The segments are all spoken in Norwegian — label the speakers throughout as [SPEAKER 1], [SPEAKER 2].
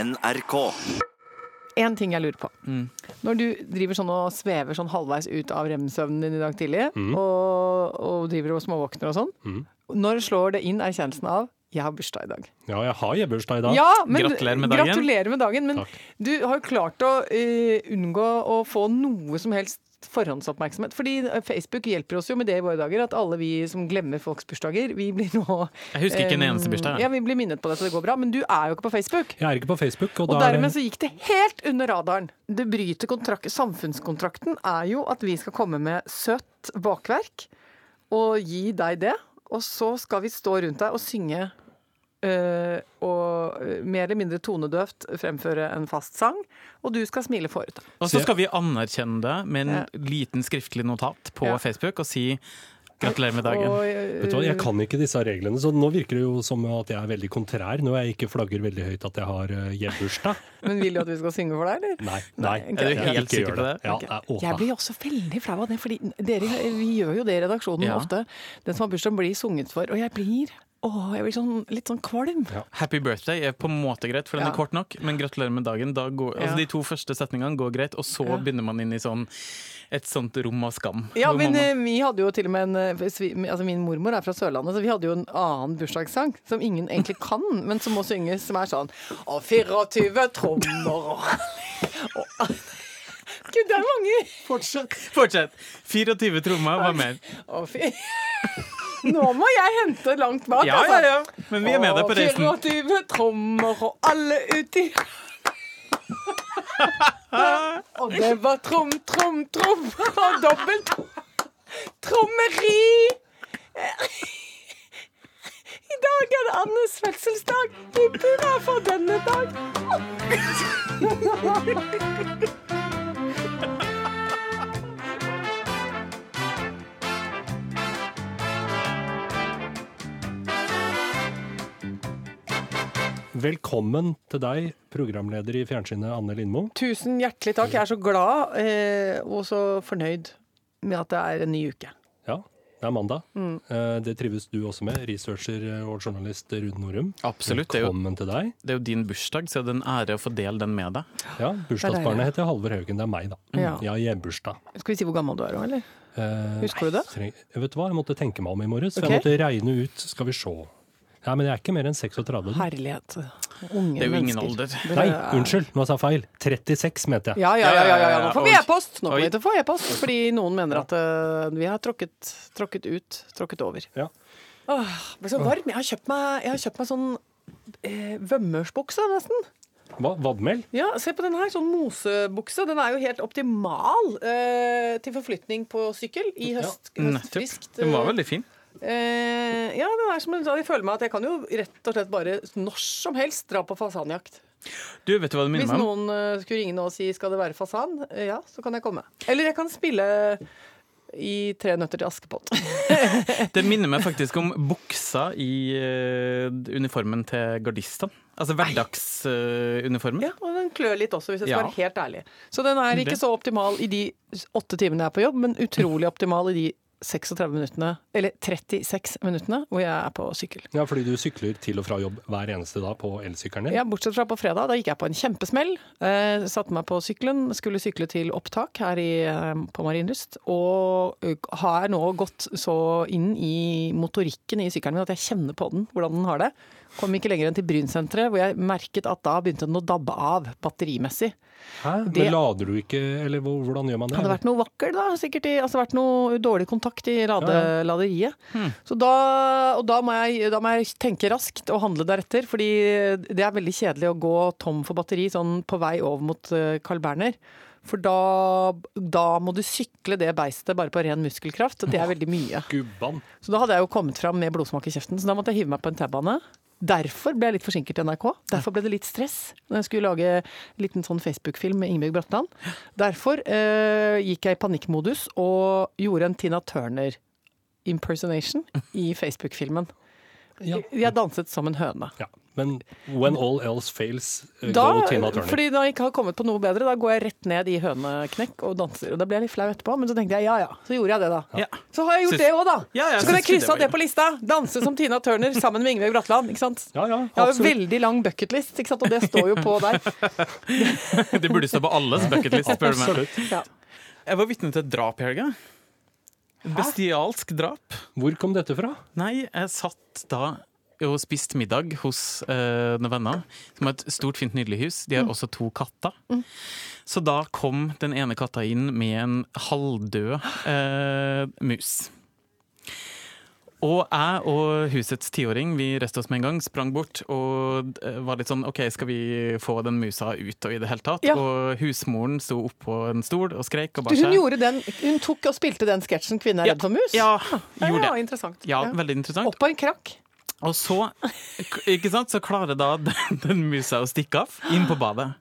[SPEAKER 1] NRK.
[SPEAKER 2] En ting jeg lurer på. Når du driver sånn og svever sånn halvveis ut av remsøvnen din i dag tidlig,
[SPEAKER 3] Mm.
[SPEAKER 2] og, og driver og småvåkner og sånn, når slår det inn erkjennelsen av 'jeg har bursdag i dag'?
[SPEAKER 4] Ja, jeg har hjemmebursdag i dag.
[SPEAKER 2] Ja, men,
[SPEAKER 3] Gratulerer med dagen.
[SPEAKER 2] Gratulerer med dagen men
[SPEAKER 4] Takk.
[SPEAKER 2] du har jo klart å eh, unngå å få noe som helst forhåndsoppmerksomhet. Fordi Facebook hjelper oss jo med det i våre dager, at alle vi som glemmer folks bursdager, vi blir nå
[SPEAKER 3] Jeg husker ikke en
[SPEAKER 2] eh,
[SPEAKER 3] eneste bursdag, jeg.
[SPEAKER 2] Ja, vi blir minnet på det, så det går bra. Men du er jo ikke på Facebook.
[SPEAKER 4] Jeg er ikke på Facebook, og,
[SPEAKER 2] Og
[SPEAKER 4] da er
[SPEAKER 2] dermed
[SPEAKER 4] det-
[SPEAKER 2] så gikk det helt under radaren. Det bryter kontrak samfunnskontrakten er jo at vi skal komme med søtt bakverk og gi deg det. Og så skal vi stå rundt deg og synge øh, og øh, mer eller mindre tonedøvt fremføre en fast sang. Og du skal smile forut. deg.
[SPEAKER 3] Og så skal vi anerkjenne det med en liten skriftlig notat på
[SPEAKER 2] Ja.
[SPEAKER 3] Facebook og si gratulerer med dagen.
[SPEAKER 2] Og, øh,
[SPEAKER 4] Vet du hva, Jeg kan ikke disse reglene, så nå virker det jo som at jeg er veldig kontrær når jeg ikke flagger veldig høyt at jeg har eh, hjemmebursdag.
[SPEAKER 2] men vil du at vi skal synge for deg, eller?
[SPEAKER 4] Nei, nei.
[SPEAKER 2] ok.
[SPEAKER 3] Er du
[SPEAKER 4] jeg
[SPEAKER 3] helt
[SPEAKER 4] ikke
[SPEAKER 3] sikker
[SPEAKER 4] gjør
[SPEAKER 3] på det?
[SPEAKER 4] Ja,
[SPEAKER 2] Ok.
[SPEAKER 4] nei, å,
[SPEAKER 2] Jeg blir også veldig flau av det, fordi dere, vi gjør jo det i redaksjonen
[SPEAKER 3] Ja.
[SPEAKER 2] ofte. Den som har bursdag, blir sunget for. Og jeg blir, åh, jeg blir sånn, litt sånn kvalm.
[SPEAKER 3] Happy birthday er på en måte greit, for den
[SPEAKER 2] Ja.
[SPEAKER 3] er kort nok, men gratulerer med dagen. Da går, altså,
[SPEAKER 2] Ja.
[SPEAKER 3] de to første setningene går greit, og så begynner man inn i sånn, et sånt rom av skam.
[SPEAKER 2] Ja,
[SPEAKER 3] Hvor
[SPEAKER 2] men
[SPEAKER 3] man,
[SPEAKER 2] eh, vi hadde jo til og med en eh, svi- altså Min mormor er fra Sørlandet, så vi hadde jo en annen bursdagssang som ingen egentlig kan, men som må synges, som er sånn Å, 24 trommer og og- Gud, det er mange!
[SPEAKER 4] Fortsett.
[SPEAKER 3] Fortsett! 24 trommer, hva mer?
[SPEAKER 2] Å, fi- Nå må jeg hente langt bak,
[SPEAKER 3] Ja, ja, ja. Men vi er med deg på reisen.
[SPEAKER 2] Å, 24 trommer og alle uti Og det var trom, trom, trom og dobbelt trommeri. I dag er det Annes fødselsdag. Hipp hurra for denne dag.
[SPEAKER 4] Velkommen til deg, programleder i fjernsynet Anne Lindmo.
[SPEAKER 2] Tusen hjertelig takk. Jeg er så glad eh, og så fornøyd med at det er en ny uke.
[SPEAKER 4] Ja, det er mandag.
[SPEAKER 2] Mm.
[SPEAKER 4] Eh, Det trives du også med, researcher eh, og journalist Rune Norum.
[SPEAKER 3] Absolutt, det er jo-
[SPEAKER 4] Velkommen til deg.
[SPEAKER 3] Det er jo din bursdag, så det er en ære å få dele den med deg.
[SPEAKER 4] Ja,
[SPEAKER 2] Det er
[SPEAKER 4] Bursdagsbarnet heter Halvor Haugen, det er meg, da.
[SPEAKER 2] Ja.
[SPEAKER 4] Jeg har hjemmebursdag.
[SPEAKER 2] Skal vi si hvor gammel du er òg, eller?
[SPEAKER 4] Eh,
[SPEAKER 2] Husker du det?
[SPEAKER 4] Treng, vet du hva, jeg måtte tenke meg om i morges. for
[SPEAKER 2] Ok.
[SPEAKER 4] Jeg måtte regne ut, skal vi se. Nei, men jeg er ikke mer enn 36.
[SPEAKER 2] Herlighet. Unge
[SPEAKER 3] Det er jo ingen
[SPEAKER 2] mennesker.
[SPEAKER 3] alder.
[SPEAKER 2] Det
[SPEAKER 4] Nei,
[SPEAKER 2] er-
[SPEAKER 4] unnskyld, nå sa jeg feil. 36, mente jeg.
[SPEAKER 2] eh, Ja, ja, ja, ja, ja, ja. Nå får vi
[SPEAKER 3] Oi.
[SPEAKER 2] e-post! Nå
[SPEAKER 3] Oi.
[SPEAKER 2] kommer vi til å få e-post, fordi noen mener at eh, vi har tråkket, tråkket ut, tråkket over.
[SPEAKER 4] Ja.
[SPEAKER 2] Åh, jeg ble så varm. Jeg har kjøpt meg, jeg har kjøpt meg sånn eh, vømmersbukse, nesten.
[SPEAKER 4] Hva, vadmel?
[SPEAKER 2] Ja, se på den her, sånn mosebukse. Den er jo helt optimal eh, til forflytning på sykkel i høst,
[SPEAKER 3] Nettopp.
[SPEAKER 2] høstfriskt.
[SPEAKER 3] Den var veldig fin.
[SPEAKER 2] Eh, ja, den er som en, jeg føler meg at jeg kan jo rett og slett bare når som helst dra på fasanjakt.
[SPEAKER 3] Du, vet du hva det minner
[SPEAKER 2] Hvis
[SPEAKER 3] meg om?
[SPEAKER 2] noen eh, skulle ringe nå og si skal det være fasan, eh, ja, så kan jeg komme. Eller jeg kan spille i Tre nøtter til Askepott.
[SPEAKER 3] Det minner meg faktisk om buksa i eh, uniformen til gardistene. Altså hverdagsuniformen.
[SPEAKER 2] ja, og den klør litt også, hvis jeg skal
[SPEAKER 3] Ja.
[SPEAKER 2] være helt ærlig. Så den er ikke
[SPEAKER 3] Det-
[SPEAKER 2] så optimal i de åtte timene jeg er på jobb, men utrolig optimal i de 36 minuttene, eller 36 minuttene, hvor jeg er på sykkel.
[SPEAKER 4] Ja, fordi du sykler til og fra jobb hver eneste dag på elsykkelen din.
[SPEAKER 2] Ja, Bortsett fra på fredag, da gikk jeg på en kjempesmell. Eh, satte meg på sykkelen, skulle sykle til opptak her i, eh, på Marienlyst. Og eh, har nå gått så inn i motorikken i sykkelen min at jeg kjenner på den, hvordan den har det. Kom ikke lenger enn til Brynsenteret, hvor jeg merket at da begynte den å dabbe av batterimessig.
[SPEAKER 4] Hæ? Men
[SPEAKER 2] Det-
[SPEAKER 4] lader du ikke, eller hvor- hvordan gjør man det?
[SPEAKER 2] Hadde vært noe vakkel, da. Sikkert i, altså vært noe dårlig kontakt i lade,
[SPEAKER 4] Ja, Hmm.
[SPEAKER 2] laderiet. Så da, og da må, jeg, da må jeg tenke raskt og handle deretter, fordi det er veldig kjedelig å gå tom for batteri sånn på vei over mot eh, Carl Berner. For da, da må du sykle det beistet bare på ren muskelkraft. og Det er veldig mye.
[SPEAKER 4] Gubban.
[SPEAKER 2] Så da hadde jeg jo kommet fram med blodsmak i kjeften, så da måtte jeg hive meg på en T-bane. Derfor ble jeg litt forsinket til NRK. Derfor ble det litt stress når jeg skulle lage en liten sånn Facebook-film med Ingebjørg Bratland. Derfor eh, gikk jeg i panikkmodus og gjorde en Tina Turner impersonation i Facebook-filmen.
[SPEAKER 4] Ja.
[SPEAKER 2] Jeg danset som en høne.
[SPEAKER 4] Ja. Men when all else fails, eh,
[SPEAKER 2] Da,
[SPEAKER 4] go Tina Turner.
[SPEAKER 2] fordi når jeg ikke har kommet på noe bedre, da går jeg rett ned i høneknekk og danser. Og da ble jeg litt flau etterpå, men så tenkte jeg ja ja, så gjorde jeg det, da.
[SPEAKER 3] Ja.
[SPEAKER 2] Så har jeg gjort
[SPEAKER 3] Syns-
[SPEAKER 2] det òg, da.
[SPEAKER 3] Ja, jeg
[SPEAKER 2] så kan
[SPEAKER 3] syns
[SPEAKER 2] jeg krysse
[SPEAKER 3] det var
[SPEAKER 2] av det på lista. Danse som Tina Turner sammen med Ingebjørg Bratland. Ikke sant?
[SPEAKER 4] Ja, ja,
[SPEAKER 2] Jeg har jo
[SPEAKER 4] absolutt.
[SPEAKER 2] veldig lang bucketlist, ikke sant? og det står jo på der.
[SPEAKER 3] Det burde stå på alles bucketlist, spør du meg.
[SPEAKER 4] Absolutt.
[SPEAKER 2] Ja.
[SPEAKER 3] Jeg var vitne til et drap i helga. Et Bestialsk drap.
[SPEAKER 4] Hvor kom dette fra?
[SPEAKER 3] Nei, jeg satt da og spiste middag hos eh, noen venner som har et stort, fint, nydelig hus. De har
[SPEAKER 2] Mm.
[SPEAKER 3] også to katter. Så da kom den ene katta inn med en halvdød eh, mus. Og jeg og husets tiåring vi reiste oss med en gang, sprang bort og eh, var litt sånn OK, skal vi få den musa ut og i det hele tatt?
[SPEAKER 2] Ja.
[SPEAKER 3] Og husmoren sto oppå en stol og skreik og
[SPEAKER 2] Du,
[SPEAKER 3] bar
[SPEAKER 2] hun,
[SPEAKER 3] seg.
[SPEAKER 2] gjorde den, hun tok og spilte den sketsjen 'Kvinne er redd for mus'.
[SPEAKER 3] Ja,
[SPEAKER 2] Ja,
[SPEAKER 3] gjorde
[SPEAKER 2] ja,
[SPEAKER 3] det.
[SPEAKER 2] interessant.
[SPEAKER 3] Ja,
[SPEAKER 2] Ja.
[SPEAKER 3] veldig interessant.
[SPEAKER 2] Opp på en krakk.
[SPEAKER 3] Og så, ikke sant, så klarer da den, den musa å stikke av inn på badet.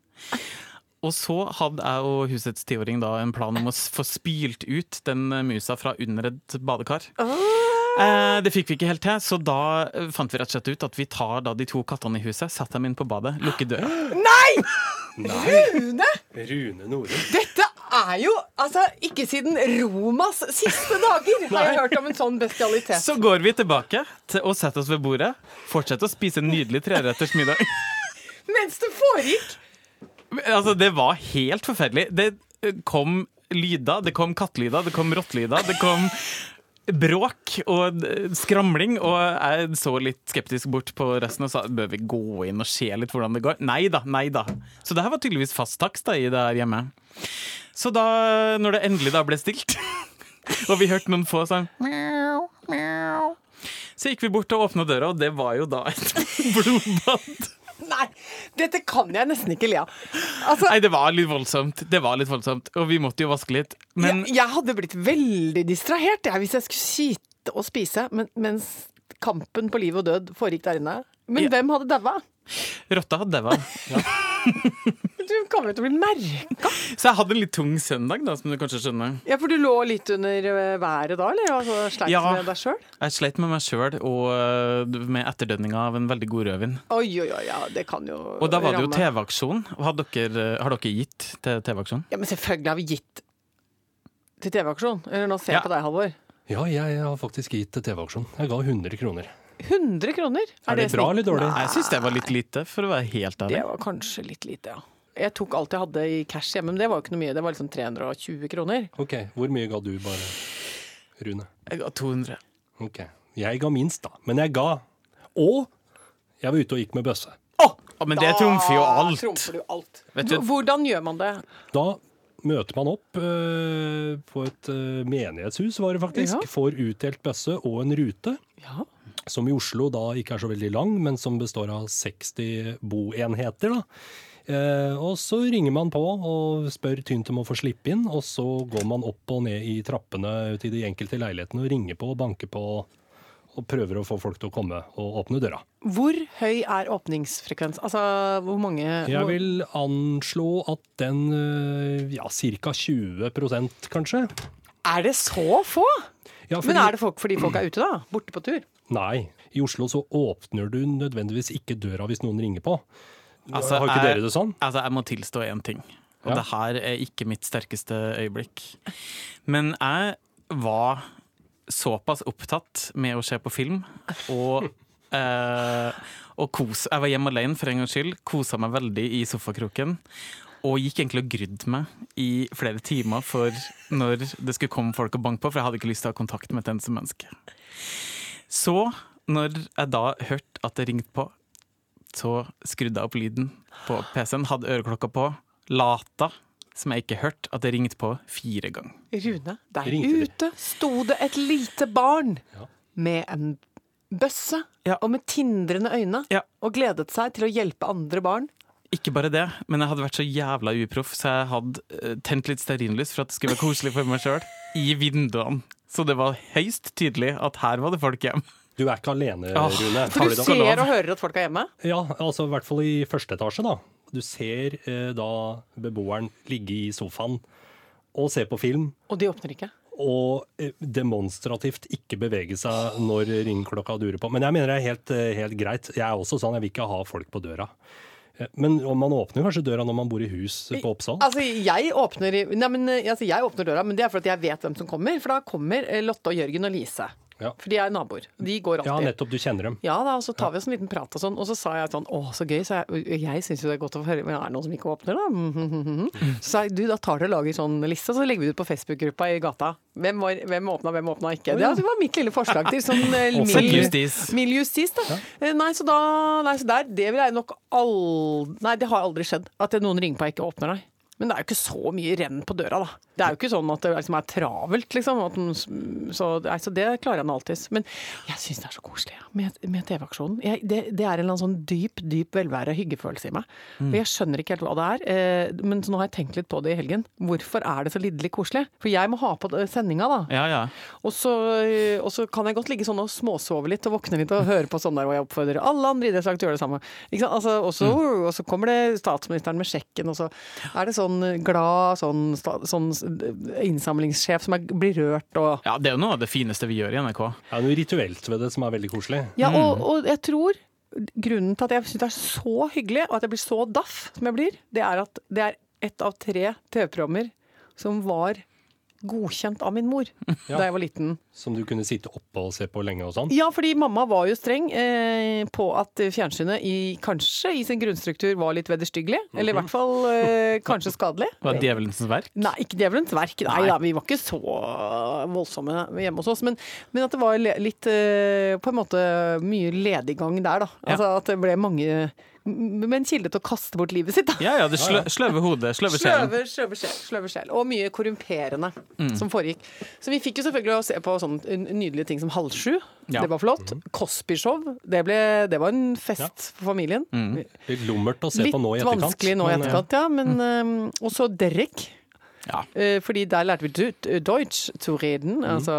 [SPEAKER 3] Og så hadde jeg og husets tiåring da en plan om å s- få spylt ut den musa fra under et badekar. Eh, det fikk vi ikke helt til, så da eh, fant vi rett og slett ut at vi tar da de to kattene i huset, setter dem inn på badet, lukker døra.
[SPEAKER 2] Rune!
[SPEAKER 4] Rune Norum.
[SPEAKER 2] Dette er jo altså, ikke siden Romas siste dager har jeg hørt om en sånn bestialitet.
[SPEAKER 3] Så går vi tilbake til å sette oss ved bordet, fortsette å spise en nydelig treretters middag.
[SPEAKER 2] Mens det foregikk
[SPEAKER 3] Men, Altså, det var helt forferdelig. Det eh, kom lyder, det kom kattelyder, det kom rottelyder, det kom bråk og eh, skramling. Og jeg så litt skeptisk bort på resten og sa bør vi gå inn og se litt hvordan det går. Nei da, nei da. Så det her var tydeligvis fast takst da, i det her hjemme. Så da, når det endelig da ble stilt, og vi hørte noen få sånn «Mjau, mjau», så gikk vi bort og åpna døra, og det var jo da et blodbad.
[SPEAKER 2] Nei, dette kan jeg nesten ikke le av. Altså,
[SPEAKER 3] Nei, det var litt voldsomt. Det var litt voldsomt. Og vi måtte jo vaske litt. Men
[SPEAKER 2] jeg, jeg hadde blitt veldig distrahert jeg, hvis jeg skulle sitte og spise men, mens kampen på liv og død foregikk der inne. Men hvem hadde daua?
[SPEAKER 3] rotta hadde daua.
[SPEAKER 2] Du kommer jo til å bli merka.
[SPEAKER 3] Så jeg hadde en litt tung søndag, da, som du kanskje skjønner.
[SPEAKER 2] Ja, for du lå litt under eh, været da, eller? Altså, Sleit
[SPEAKER 3] Ja.
[SPEAKER 2] med deg sjøl?
[SPEAKER 3] Jeg sleit med meg sjøl og øh, med etterdønninga av en veldig god rødvin.
[SPEAKER 2] Oi, oi, oi, ja, det kan jo
[SPEAKER 3] Og da var det jo
[SPEAKER 2] ramme.
[SPEAKER 3] TV-aksjon. Har dere, eh, har dere gitt til TV-aksjon?
[SPEAKER 2] Ja, men selvfølgelig har vi gitt til TV-aksjon. Eller nå ser jeg
[SPEAKER 3] Ja.
[SPEAKER 2] på deg, Halvor.
[SPEAKER 4] Ja, jeg har faktisk gitt til TV-aksjon. Jeg ga 100 kroner.
[SPEAKER 2] 100 kroner?
[SPEAKER 4] Er, det,
[SPEAKER 2] snitt?
[SPEAKER 4] bra eller dårlig?
[SPEAKER 3] Jeg syns det var litt lite, for å være helt ærlig.
[SPEAKER 2] Det var kanskje litt lite, ja. Jeg tok alt jeg hadde i cash hjemme, men det var jo ikke noe mye. Det var liksom 320 kroner.
[SPEAKER 4] Ok, hvor mye ga du bare, Rune?
[SPEAKER 3] Jeg ga 200.
[SPEAKER 4] Ok, jeg ga minst da, men jeg ga. Og jeg var ute og gikk med bøsse.
[SPEAKER 3] Ja, men det trumfer jo
[SPEAKER 2] Da
[SPEAKER 3] alt.
[SPEAKER 2] trumfer du alt.
[SPEAKER 3] Vet du-
[SPEAKER 2] Hvordan gjør man det?
[SPEAKER 4] Da møter man opp eh, på et eh, menighetshus, var det faktisk.
[SPEAKER 2] Ja.
[SPEAKER 4] Får utdelt bøsse og en rute.
[SPEAKER 2] Ja.
[SPEAKER 4] som i Oslo da ikke er så veldig lang, men som består av 60 boenheter. da. Eh, og så ringer man på og spør tynt om å få slippe inn, og så går man opp og ned i trappene til de enkelte leilighetene og ringer på og banker på og prøver å få folk til å komme og åpne døra.
[SPEAKER 2] Hvor høy er åpningsfrekvens? Altså, hvor mange
[SPEAKER 4] Jeg
[SPEAKER 2] hvor-
[SPEAKER 4] vil anslå at den eh, ja, ca. 20 kanskje.
[SPEAKER 2] Er det så få?
[SPEAKER 4] Ja,
[SPEAKER 2] Men er det folk fordi folk er ute, da? Borte på tur?
[SPEAKER 4] Nei. I Oslo så åpner du nødvendigvis ikke døra hvis noen ringer på.
[SPEAKER 3] Altså,
[SPEAKER 4] Har ikke
[SPEAKER 3] jeg-
[SPEAKER 4] dere det sånn?
[SPEAKER 3] Altså, jeg må tilstå én ting,
[SPEAKER 4] Ja.
[SPEAKER 3] og det her er ikke mitt sterkeste øyeblikk. Men jeg var såpass opptatt med å se på film og, eh, og kos. Jeg var hjemme alene for en gangs skyld, kosa meg veldig i sofakroken. Og gikk egentlig og grudde meg i flere timer for når det skulle komme folk og banke på, for jeg hadde ikke lyst til å ha kontakt med et eneste menneske. Så, når jeg da hørte at det ringte på, så skrudde jeg opp lyden på PC-en, hadde øreklokka på, lata, som jeg ikke hørte, at det ringte på fire ganger.
[SPEAKER 2] Rune, der
[SPEAKER 4] Ringte de?
[SPEAKER 2] ute sto det et lite barn
[SPEAKER 4] Ja.
[SPEAKER 2] med en bøsse
[SPEAKER 3] Ja.
[SPEAKER 2] og med tindrende øyne
[SPEAKER 3] Ja.
[SPEAKER 2] og gledet seg til å hjelpe andre barn.
[SPEAKER 3] Ikke bare det, men jeg hadde vært så jævla uproff, så jeg hadde eh, tent litt stearinlys for at det skulle være koselig for meg sjøl, i vinduene. Så det var høyst tydelig at her var det folk hjemme.
[SPEAKER 4] Du er ikke alene,
[SPEAKER 3] Ah,
[SPEAKER 4] Rune. Har
[SPEAKER 3] for
[SPEAKER 2] For
[SPEAKER 4] vi
[SPEAKER 2] du
[SPEAKER 4] det?
[SPEAKER 3] skal lov.
[SPEAKER 2] ser og hører at folk er hjemme.
[SPEAKER 4] Ja, altså i hvert fall i første etasje, da. Du ser eh, da beboeren ligge i sofaen og se på film,
[SPEAKER 2] Og de åpner ikke.
[SPEAKER 4] og eh, demonstrativt ikke bevege seg når ringeklokka durer på. Men jeg mener det er helt, eh, helt greit. Jeg er også sånn, jeg vil ikke ha folk på døra. Eh, Men om man åpner kanskje døra når man bor i hus på Oppsal?
[SPEAKER 2] Altså, jeg åpner, i- nei, men, eh, altså, jeg åpner døra, men det er fordi jeg vet hvem som kommer. For da kommer eh, Lotte og Jørgen og Lise.
[SPEAKER 4] Ja.
[SPEAKER 2] For de er naboer. De går
[SPEAKER 4] Ja,
[SPEAKER 2] alltid.
[SPEAKER 4] nettopp. Du kjenner dem.
[SPEAKER 2] Ja da, og så tar vi oss en liten prat og sånn. Og så sa jeg sånn, å så gøy, så jeg, jeg syns jo det er godt å få høre, men er det noen som ikke åpner da? Mhm, mhm, mhm.
[SPEAKER 4] Mm.
[SPEAKER 2] Så sa jeg, du, da tar dere og lager sånn liste, og så legger vi det ut på Facebook-gruppa i gata. Hvem, var, hvem åpna, hvem åpna ikke? Det altså var mitt lille forslag til sånn eh,
[SPEAKER 3] Offentlig
[SPEAKER 2] mild-
[SPEAKER 3] justis.
[SPEAKER 2] mild justis, da. Eh, Nei, så da, nei, så der, det vil jeg nok aldri, nei, det har aldri skjedd, at noen ringer på og jeg ikke åpner deg. Men det er jo ikke så mye renn på døra, da. Det er jo ikke sånn at det liksom er travelt, liksom. At den, så, nei, så det klarer han alltids. Men jeg syns det er så koselig ja, med, med TV-aksjonen. Jeg- Det, det er en eller annen sånn dyp dyp velvære og hyggefølelse i meg. Og jeg skjønner ikke helt hva det er. eh, Men så nå har jeg tenkt litt på det i helgen. Hvorfor er det så lidderlig koselig? For jeg må ha på eh, sendinga, da.
[SPEAKER 3] Ja, ja.
[SPEAKER 2] Og så, eh, og så kan jeg godt ligge sånn og småsove litt og våkne litt og høre på sånn der, og jeg oppfordrer alle andre idrettslag til å gjøre det samme. Ikke sant? Altså, og, så, og så kommer det statsministeren med sjekken, og så er det sånn glad sånn, sta- sånn innsamlingssjef som er, blir rørt og
[SPEAKER 3] ja, det er jo noe av det fineste vi gjør i NRK.
[SPEAKER 4] Det er noe rituelt ved det som er veldig koselig.
[SPEAKER 2] Ja, og, og jeg tror grunnen til at jeg syns det er så hyggelig, og at jeg blir så daff som jeg blir, det er at det er ett av tre TV-programmer som var godkjent av min mor da jeg var liten.
[SPEAKER 4] Som du kunne sitte oppe og se på lenge og sånn.
[SPEAKER 2] Ja, fordi mamma var jo streng eh, på at fjernsynet i, kanskje i sin grunnstruktur var litt vederstyggelig. Eller i hvert fall eh, kanskje skadelig.
[SPEAKER 3] Det Mhm. var Djevelens verk.
[SPEAKER 2] Nei, ikke Djevelens verk. Nei,
[SPEAKER 3] Nei.
[SPEAKER 2] Da, vi var ikke så voldsomme hjemme hos oss. Men, men at det var le- litt eh, på en måte mye lediggang der, da. Altså At det ble mange m- Med en kilde til å kaste bort livet sitt, da.
[SPEAKER 3] Ja, ja, det slø, sløve hodet, sløve sjelen.
[SPEAKER 2] Sløver, sløver sjel, Mm. sløver sjel. Og mye korrumperende som foregikk. Så vi fikk jo selvfølgelig å se på sånne n- nydelige ting som Halv sju.
[SPEAKER 3] Ja.
[SPEAKER 2] Det var flott. Cosby-show. Det, ble- det var en fest for familien.
[SPEAKER 4] Litt lummert å se
[SPEAKER 2] Litt
[SPEAKER 4] på nå i etterkant.
[SPEAKER 2] vanskelig nå i
[SPEAKER 4] men, eh,
[SPEAKER 2] etterkant, ja. Men eh, også Derek.
[SPEAKER 3] Ja.
[SPEAKER 2] Eh, Fordi der lærte vi du- eh, Deutsch zu reden. Altså,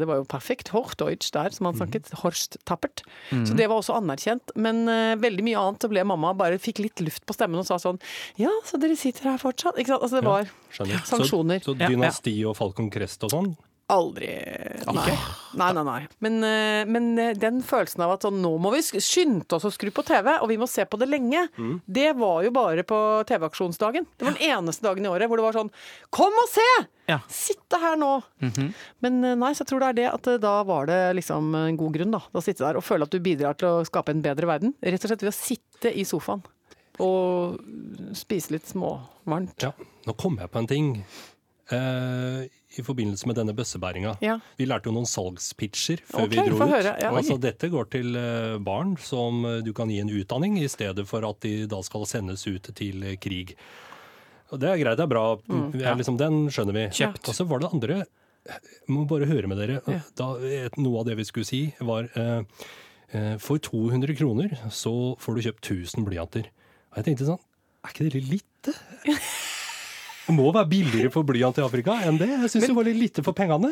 [SPEAKER 2] det var jo perfekt Hochdeutsch der, som han snakket. Horst tappert. Så det var også anerkjent. Men eh, veldig mye annet så ble mamma bare fikk litt luft på stemmen og sa sånn Ja, så dere sitter her fortsatt? Ikke sant? Altså, det var
[SPEAKER 4] skjønner. Så-
[SPEAKER 2] sanksjoner.
[SPEAKER 4] Så,
[SPEAKER 3] Ja, ja.
[SPEAKER 4] dynasti og Falcon Crest og sånn,
[SPEAKER 2] Aldri. Nei. nei, nei, nei. Men, eh, men eh, den følelsen av at sånn, nå må vi sk- skynde oss å skru på TV, og vi må se på det lenge, det var jo bare på TV-aksjonsdagen. Det var den eneste dagen i året hvor det var sånn Kom og se!
[SPEAKER 3] Ja.
[SPEAKER 2] Sitte her nå! Men eh, nei, så jeg tror det er det at eh, da var det liksom en god grunn, da. Da sitte der og føle at du bidrar til å skape en bedre verden. Rett og slett ved å sitte i sofaen og spise litt småvarmt.
[SPEAKER 4] Ja, nå kom jeg på en ting eh, i forbindelse med denne bøssebæringa.
[SPEAKER 2] Ja.
[SPEAKER 4] Vi lærte jo noen salgspitcher før
[SPEAKER 2] Ok,
[SPEAKER 4] vi dro
[SPEAKER 2] få
[SPEAKER 4] ut.
[SPEAKER 2] høre, ja.
[SPEAKER 4] Altså, dette går til eh, barn som eh, du kan gi en utdanning, i stedet for at de da skal sendes ut til eh, krig. Og det er greit, det er bra.
[SPEAKER 2] Mm.
[SPEAKER 4] ja. liksom, den skjønner vi.
[SPEAKER 3] Kjøpt.
[SPEAKER 4] Og så var det andre Jeg Må bare høre med dere.
[SPEAKER 2] Ja.
[SPEAKER 4] Da, et- noe av det vi skulle si, var eh, eh, For 200 kroner så får du kjøpt 1000 blyanter. Og jeg tenkte sånn Er ikke det litt lite? Det må være billigere for blyant i Afrika enn det. Jeg syns det var litt lite for pengene.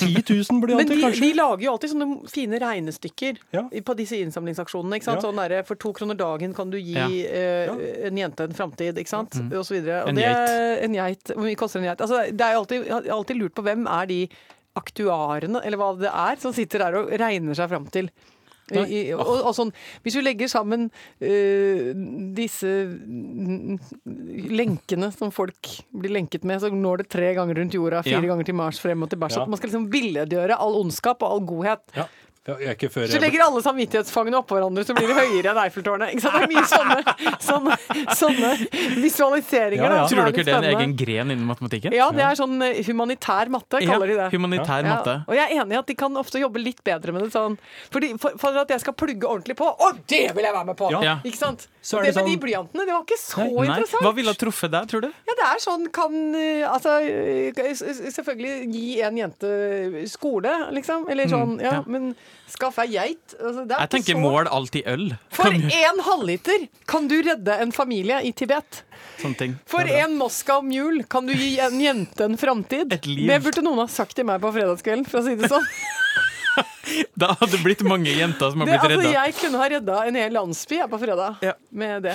[SPEAKER 4] 10 000
[SPEAKER 2] Men
[SPEAKER 4] blyanter,
[SPEAKER 2] de,
[SPEAKER 4] kanskje?
[SPEAKER 2] de lager jo alltid sånne fine regnestykker
[SPEAKER 4] Ja.
[SPEAKER 2] i- på disse innsamlingsaksjonene. Ikke sant?
[SPEAKER 4] Ja.
[SPEAKER 2] Sånn derre, for to kroner dagen kan du gi
[SPEAKER 3] Ja.
[SPEAKER 2] eh,
[SPEAKER 4] Ja.
[SPEAKER 2] en jente en framtid, ikke sant? Og så videre. Og
[SPEAKER 3] En
[SPEAKER 2] det-
[SPEAKER 3] geit.
[SPEAKER 2] En geit. Hvor mye koster en geit? Altså, det er jo alltid, jeg har alltid lurt på hvem er de aktuarene, eller hva det er, som sitter der og regner seg fram til. I, i- og, og sånn, hvis vi legger sammen eh, disse mm, lenkene som folk blir lenket med, så når det tre ganger rundt jorda, fire
[SPEAKER 3] Ja.
[SPEAKER 2] ganger til Mars, frem og tilbake.
[SPEAKER 4] Ja.
[SPEAKER 2] At man skal liksom billedgjøre all ondskap og all godhet.
[SPEAKER 4] Ja. Ja, jeg er ikke før
[SPEAKER 2] Så legger alle samvittighetsfangene oppå hverandre, så blir det høyere enn Eiffeltårnet. Ikke sant? Det er mye sånne, sånne, sånne visualiseringer.
[SPEAKER 4] Ja, ja.
[SPEAKER 2] da, som er
[SPEAKER 3] Tror dere
[SPEAKER 2] litt
[SPEAKER 3] det er en
[SPEAKER 2] spennende.
[SPEAKER 3] egen gren innen matematikken?
[SPEAKER 2] Ja, det er sånn eh, humanitær matte, kaller de det.
[SPEAKER 3] Humanitær
[SPEAKER 2] Ja,
[SPEAKER 3] matte.
[SPEAKER 2] og jeg er enig i at de kan ofte jobbe litt bedre med det sånn. Fordi, for, for at jeg skal plugge ordentlig på. Å, det vil jeg være med på!
[SPEAKER 4] Ja.
[SPEAKER 2] Ikke sant?
[SPEAKER 4] Så er
[SPEAKER 2] det,
[SPEAKER 4] det
[SPEAKER 2] med de
[SPEAKER 4] sånn-
[SPEAKER 2] blyantene, det var ikke så
[SPEAKER 3] Nei.
[SPEAKER 2] interessant.
[SPEAKER 3] Hva ville ha truffet der, tror du?
[SPEAKER 2] Ja, det er sånn kan eh, Altså, eh, s- s- selvfølgelig gi en jente skole, liksom. Eller sånn, ja,
[SPEAKER 3] Mm. ja.
[SPEAKER 2] men skaff ei geit. Altså, det er
[SPEAKER 3] Jeg
[SPEAKER 2] ikke
[SPEAKER 3] tenker
[SPEAKER 2] så
[SPEAKER 3] mål alltid øl.
[SPEAKER 2] For én halvliter kan du redde en familie i Tibet.
[SPEAKER 3] Sånne ting.
[SPEAKER 2] For en Moskva-mjul kan du gi en jente en framtid.
[SPEAKER 3] Et liv.
[SPEAKER 2] Det burde noen ha sagt til meg på fredagskvelden, for å si det sånn.
[SPEAKER 3] Da hadde det blitt mange jenter som har
[SPEAKER 2] Det,
[SPEAKER 3] blitt
[SPEAKER 2] altså,
[SPEAKER 3] redda.
[SPEAKER 2] jeg kunne ha redda en hel landsby jeg, på fredag
[SPEAKER 3] Ja.
[SPEAKER 2] med det.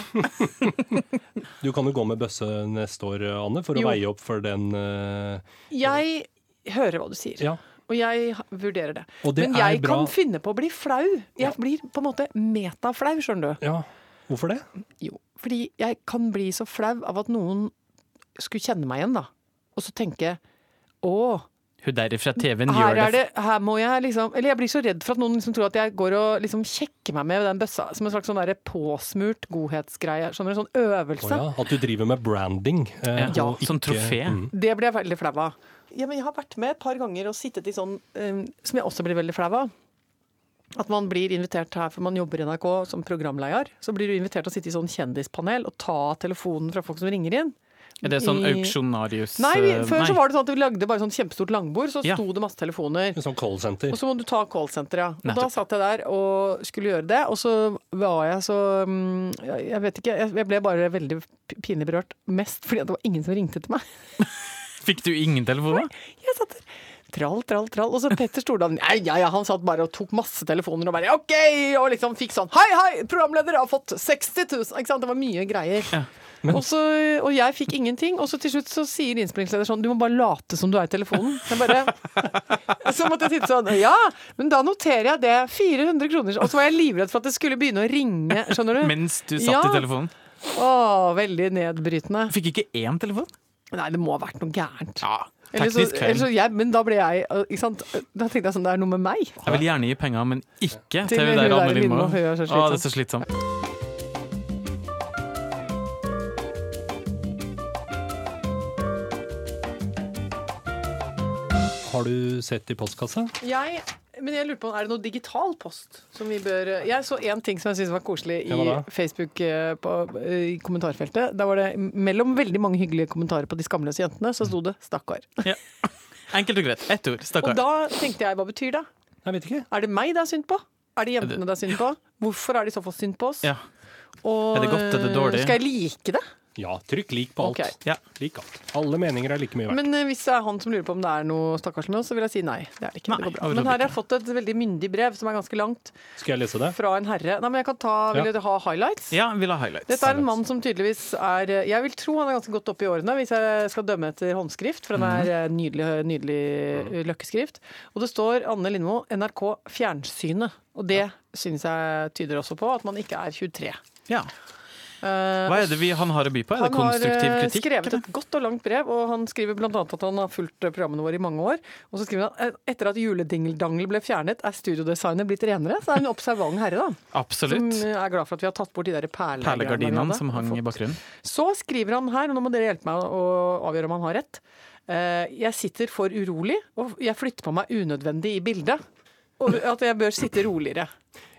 [SPEAKER 4] Du kan jo gå med bøsse neste år, Anne, for å
[SPEAKER 2] Jo.
[SPEAKER 4] veie opp for den eh,
[SPEAKER 2] Jeg hører hva du sier.
[SPEAKER 4] Ja.
[SPEAKER 2] Og jeg ha- vurderer det.
[SPEAKER 4] Og det
[SPEAKER 2] Men
[SPEAKER 4] er
[SPEAKER 2] jeg
[SPEAKER 4] bra-
[SPEAKER 2] kan finne på å bli flau. Jeg blir på en måte metaflau, skjønner du.
[SPEAKER 4] Ja. Hvorfor det?
[SPEAKER 2] Jo, fordi jeg kan bli så flau av at noen skulle kjenne meg igjen, da. Og så tenke å,
[SPEAKER 3] Hun derifra TV-en
[SPEAKER 2] her
[SPEAKER 3] gjør
[SPEAKER 2] er det Her må jeg liksom Eller jeg blir så redd for at noen liksom tror at jeg går og liksom sjekker meg med den bøssa. Som en slags sånn der påsmurt godhetsgreie. Skjønner du? Sånn
[SPEAKER 4] Å
[SPEAKER 2] øvelse.
[SPEAKER 4] ja, at du driver med branding. eh,
[SPEAKER 3] Ja,
[SPEAKER 4] og ikke-
[SPEAKER 3] som sånn trofé.
[SPEAKER 4] Mm.
[SPEAKER 2] Det blir jeg veldig flau av. Ja, men jeg har vært med et par ganger og sittet i sånn eh, som jeg også blir veldig flau av. At man blir invitert her, for man jobber i NRK som programleder. Så blir du invitert til å sitte i sånn kjendispanel og ta telefonen fra folk som ringer inn.
[SPEAKER 3] Er det sånn
[SPEAKER 2] I-
[SPEAKER 3] auksjonarius
[SPEAKER 2] Nei, vi,
[SPEAKER 3] eh,
[SPEAKER 2] før
[SPEAKER 3] nei.
[SPEAKER 2] så var det sånn at vi lagde bare sånn kjempestort langbord, så
[SPEAKER 3] Ja.
[SPEAKER 2] sto det masse telefoner.
[SPEAKER 4] Som callsenter.
[SPEAKER 2] Og så må du ta callsenteret, ja. Og da
[SPEAKER 3] Nettopp.
[SPEAKER 2] satt jeg der og skulle gjøre det, og så var jeg så mm, Jeg jeg vet ikke, jeg- jeg ble bare veldig p- pinlig berørt. Mest fordi at det var ingen som ringte til meg.
[SPEAKER 3] Fikk du ingen telefoner?
[SPEAKER 2] Jeg satt der. Trall, trall, trall. Og så Petter Stordalen. Nei, ja, ja, han satt bare og tok masse telefoner og bare OK! Og liksom fikk sånn Hei, hei! Programleder har fått 60 000! Ikke sant? Det var mye greier. og, så, og jeg fikk ingenting. Og så til slutt så sier innspillingsleder sånn Du må bare late som du er i telefonen. Jeg bare Så måtte jeg sitte sånn Ja! Men da noterer jeg det. 400 kroner. Og så var jeg livredd for at det skulle begynne å ringe. Skjønner du?
[SPEAKER 3] Mens du satt
[SPEAKER 2] Ja.
[SPEAKER 3] i telefonen?
[SPEAKER 2] Å, veldig nedbrytende.
[SPEAKER 3] Fikk ikke én telefon?
[SPEAKER 2] Nei, det må ha vært noe gærent.
[SPEAKER 3] Ja,
[SPEAKER 2] Eller så,
[SPEAKER 3] teknisk
[SPEAKER 2] eller
[SPEAKER 3] feil.
[SPEAKER 2] så jeg, men da ble jeg eh, ikke sant? Da tenkte jeg sånn, det er noe med meg.
[SPEAKER 3] Jeg vil gjerne gi penger, men ikke til
[SPEAKER 2] Til
[SPEAKER 3] hun
[SPEAKER 2] hun
[SPEAKER 3] der
[SPEAKER 2] der
[SPEAKER 3] Anne Lindmo.
[SPEAKER 2] Lindmo, hun er så
[SPEAKER 3] Å, det er så slitsomt.
[SPEAKER 4] Har du sett i postkassa?
[SPEAKER 2] Jeg, men jeg lurer på, er det noe digital post som vi bør Jeg så én ting som jeg syntes var koselig i
[SPEAKER 4] Ja, hva da?
[SPEAKER 2] Facebook eh, på, i kommentarfeltet. Da var det mellom veldig mange hyggelige kommentarer på De skamløse jentene, så sto det 'stakkar'.
[SPEAKER 3] Enkelt og greit. Ett ord.
[SPEAKER 2] Og
[SPEAKER 3] Stakkar.
[SPEAKER 2] da tenkte jeg, hva betyr det?
[SPEAKER 4] Jeg vet ikke.
[SPEAKER 2] Er det meg det er synd på? Er det jentene det er synd på? Hvorfor er de så fått synd på oss?
[SPEAKER 3] Ja.
[SPEAKER 2] Og,
[SPEAKER 3] Er det godt, er det
[SPEAKER 2] eh,
[SPEAKER 3] dårlig?
[SPEAKER 2] Skal jeg like det?
[SPEAKER 4] Ja, trykk lik på alt.
[SPEAKER 2] Ok.
[SPEAKER 3] Ja.
[SPEAKER 4] Lik alt. Alle meninger er like mye verdt.
[SPEAKER 2] Men eh, hvis det er han som lurer på om det er noe stakkars med oss, så vil jeg si nei. Det er det ikke.
[SPEAKER 3] Nei,
[SPEAKER 2] det går bra.
[SPEAKER 3] overhodet
[SPEAKER 2] Men her har jeg fått et veldig myndig brev som er ganske langt,
[SPEAKER 4] Skal jeg lese det?
[SPEAKER 2] fra en herre. Nei, men jeg kan ta, Vil
[SPEAKER 4] Ja.
[SPEAKER 2] dere ha highlights?
[SPEAKER 3] ja, vil ha highlights.
[SPEAKER 2] Dette er en mann som tydeligvis er eh, Jeg vil tro han er ganske godt oppe i årene, hvis jeg skal dømme etter håndskrift, for den
[SPEAKER 3] Mhm.
[SPEAKER 2] er eh, nydelig, nydelig eh, løkkeskrift. Og det står Anne Lindmo, NRK Fjernsynet. Og det synes jeg tyder også på at man ikke er 23.
[SPEAKER 3] Ja.
[SPEAKER 2] Eh,
[SPEAKER 3] Hva er det vi, han har å by på? Er
[SPEAKER 2] han
[SPEAKER 3] det
[SPEAKER 2] har
[SPEAKER 3] konstruktiv
[SPEAKER 2] eh,
[SPEAKER 3] kritikk?
[SPEAKER 2] skrevet et godt og langt brev, og han skriver bl.a. at han har fulgt eh, programmene våre i mange år. Og så skriver han at etter at juledingeldangel ble fjernet, er studiodesignet blitt renere. Så er han en observant herre, da. Som
[SPEAKER 3] Absolutt.
[SPEAKER 2] eh, er glad for at vi har tatt bort de der perlegreiene han
[SPEAKER 3] Perlegardinene
[SPEAKER 2] hadde.
[SPEAKER 3] som hang i bakgrunnen.
[SPEAKER 2] Så skriver han her, og nå må dere hjelpe meg å avgjøre om han har rett. Eh, Jeg sitter for urolig, og jeg flytter på meg unødvendig i bildet. Og at jeg bør sitte roligere.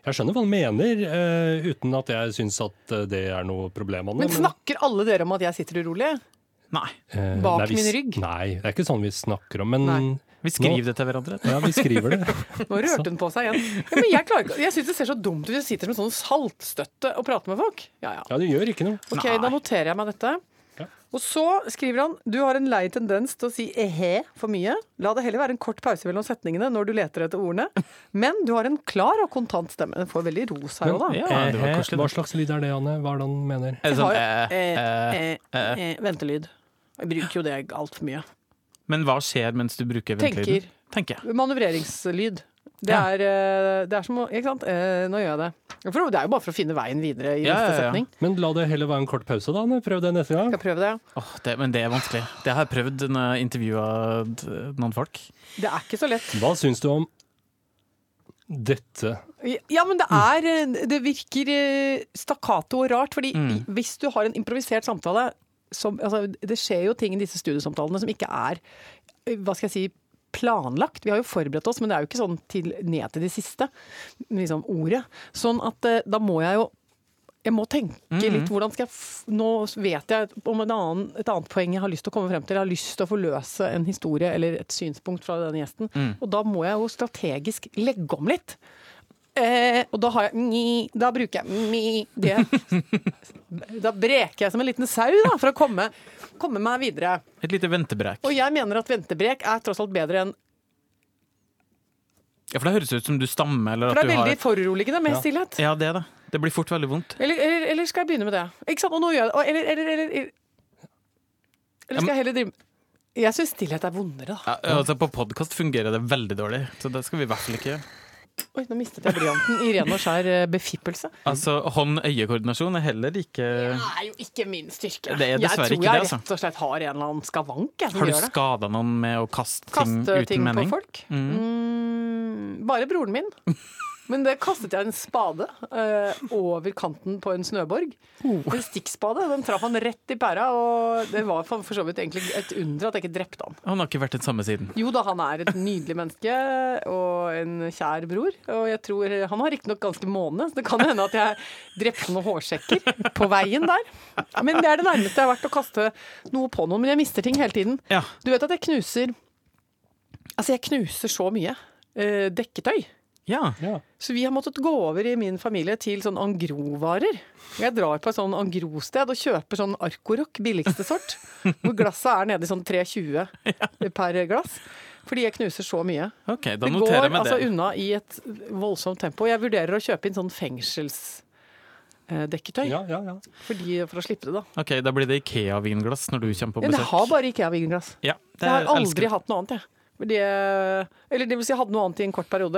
[SPEAKER 4] Jeg skjønner hva han mener, eh, uten at jeg syns at eh, det er noe problem. Anne,
[SPEAKER 2] Men snakker alle dere om at jeg sitter urolig?
[SPEAKER 3] Nei.
[SPEAKER 4] eh,
[SPEAKER 2] bak
[SPEAKER 4] vi
[SPEAKER 2] min
[SPEAKER 4] s-
[SPEAKER 2] rygg?
[SPEAKER 4] Nei, det er ikke sånn vi snakker om, men
[SPEAKER 2] Nei.
[SPEAKER 3] Vi skriver det til hverandre.
[SPEAKER 4] Ja, vi skriver det.
[SPEAKER 2] Nå rørte hun på seg igjen. Ja, men jeg klarer ikke, jeg syns det ser så dumt ut hvis jeg sitter som en sånn saltstøtte og prater med folk. Ja, ja.
[SPEAKER 4] Ja, det gjør ikke noe.
[SPEAKER 2] Ok,
[SPEAKER 3] Nei.
[SPEAKER 2] Da noterer jeg meg dette.
[SPEAKER 4] Ja.
[SPEAKER 2] Og så skriver han du har en lei tendens til å si ehe for mye. La det heller være en kort pause mellom setningene når du leter etter ordene. Men du har en klar og kontant stemme. Den får veldig ros her òg, da.
[SPEAKER 3] Men- Ja, det var
[SPEAKER 4] Eh,
[SPEAKER 3] koselig, det.
[SPEAKER 4] hva slags lyd er det, Anne? Hva er det han mener?
[SPEAKER 3] Er det
[SPEAKER 2] Jeg
[SPEAKER 3] sånn,
[SPEAKER 2] har jo
[SPEAKER 3] eh,
[SPEAKER 2] eh,
[SPEAKER 3] eh.
[SPEAKER 2] eh, eh, ventelyd. Jeg bruker jo det altfor mye.
[SPEAKER 3] eh, Men hva skjer mens du bruker ventilen?
[SPEAKER 2] Tenker.
[SPEAKER 3] Tenker. jeg.
[SPEAKER 2] Manøvreringslyd. Det
[SPEAKER 3] Ja.
[SPEAKER 2] er, eh, det er som å Ikke sant? Eh, Nå gjør jeg det. For det er jo bare for å finne veien videre i
[SPEAKER 3] Ja,
[SPEAKER 2] neste
[SPEAKER 3] ja, ja.
[SPEAKER 2] setning.
[SPEAKER 4] Men la det heller være en kort pause, da. Anne. Prøv det neste gang.
[SPEAKER 2] Skal jeg prøve det?
[SPEAKER 3] Åh, det, men det er vanskelig. Det har jeg prøvd når jeg intervjua noen folk.
[SPEAKER 2] Det er ikke så lett.
[SPEAKER 4] Hva syns du om dette?
[SPEAKER 2] Ja, men det er eh, Det virker eh, stakkato og rart, fordi
[SPEAKER 3] Mm.
[SPEAKER 2] hvis du har en improvisert samtale som, altså, Det skjer jo ting i disse studiesamtalene som ikke er eh, Hva skal jeg si planlagt. Vi har jo forberedt oss, men det er jo ikke sånn til, ned til det siste liksom, ordet. Sånn at eh, da må jeg jo jeg må tenke litt hvordan skal jeg f Nå vet jeg om en annen, et annet poeng jeg har lyst til å komme frem til. Jeg har lyst til å forløse en historie eller et synspunkt fra denne gjesten. Og da må jeg jo strategisk legge om litt. Eh, og da har jeg mi, Da bruker jeg mi, det. Da breker jeg som en liten sau da, for å komme, komme meg videre.
[SPEAKER 3] Et lite ventebrek.
[SPEAKER 2] Og jeg mener at ventebrek er tross alt bedre enn
[SPEAKER 3] Ja, for det høres ut som du stammer, eller
[SPEAKER 2] For
[SPEAKER 3] at
[SPEAKER 2] det er
[SPEAKER 3] du har
[SPEAKER 2] veldig foruroligende med stillhet.
[SPEAKER 3] Ja, det er det. Det blir fort veldig vondt.
[SPEAKER 2] Eller, eller, eller skal jeg begynne med det? Ikke sant? Og nå gjør jeg det. Og, eller, eller, eller, eller Eller skal jeg heller drive Jeg syns stillhet er vondere, da.
[SPEAKER 3] Ja, altså På podkast fungerer det veldig dårlig, så det skal vi i hvert fall ikke gjøre.
[SPEAKER 2] Mm. Oi, nå mistet jeg blyanten i ren og skjær eh, befippelse.
[SPEAKER 3] Altså, Hånd-øye-koordinasjon er heller ikke
[SPEAKER 2] er jo ikke min styrke.
[SPEAKER 3] Det er
[SPEAKER 2] jeg
[SPEAKER 3] dessverre
[SPEAKER 2] tror
[SPEAKER 3] ikke
[SPEAKER 2] jeg
[SPEAKER 3] det, altså.
[SPEAKER 2] rett og slett har en eller annen skavank jeg, som
[SPEAKER 3] Har du
[SPEAKER 2] gjør det.
[SPEAKER 3] skada noen med å kaste,
[SPEAKER 2] Kaste
[SPEAKER 3] ting uten
[SPEAKER 2] ting på
[SPEAKER 3] mening?
[SPEAKER 2] folk. Mm, bare broren min. Men det kastet jeg en spade eh, over kanten på en snøborg.
[SPEAKER 3] Oh.
[SPEAKER 2] En stikkspade. Den traff han rett i pæra, og det var for for så vidt egentlig et under at jeg ikke drepte han.
[SPEAKER 3] Han har ikke vært den samme siden.
[SPEAKER 2] Jo da, han er et nydelig menneske og en kjær bror. Og jeg tror Han har riktignok ganske måne, så det kan hende at jeg drepte noen hårsekker på veien der. Men det er det nærmeste jeg har vært å kaste noe på noen. Men jeg mister ting hele tiden.
[SPEAKER 3] Ja.
[SPEAKER 2] Du vet at jeg knuser Altså, jeg knuser så mye. eh, dekketøy.
[SPEAKER 3] ja.
[SPEAKER 4] Ja.
[SPEAKER 2] Så vi har måttet gå over i min familie til sånn angrovarer. Jeg drar på et sånn angrosted og kjøper sånn Arcoroc, billigste sort. Hvor glasset er nede i sånn 3,20 per glass. Fordi jeg knuser så mye.
[SPEAKER 3] OK, da
[SPEAKER 2] Det
[SPEAKER 3] noterer
[SPEAKER 2] går
[SPEAKER 3] jeg meg
[SPEAKER 2] altså
[SPEAKER 3] det.
[SPEAKER 2] unna i et voldsomt tempo. Jeg vurderer å kjøpe inn sånn fengselsdekketøy.
[SPEAKER 4] Ja, ja, ja.
[SPEAKER 2] Fordi, for å slippe det, da.
[SPEAKER 3] Ok, Da blir det Ikea-vinglass når du kommer på
[SPEAKER 2] Men
[SPEAKER 3] besøk.
[SPEAKER 2] jeg har bare Ikea-vinglass.
[SPEAKER 3] Ja, det
[SPEAKER 2] Jeg eh, har
[SPEAKER 3] elsker
[SPEAKER 2] aldri hatt noe annet, jeg. Fordi, eller det vil si, jeg hadde noe annet i en kort periode.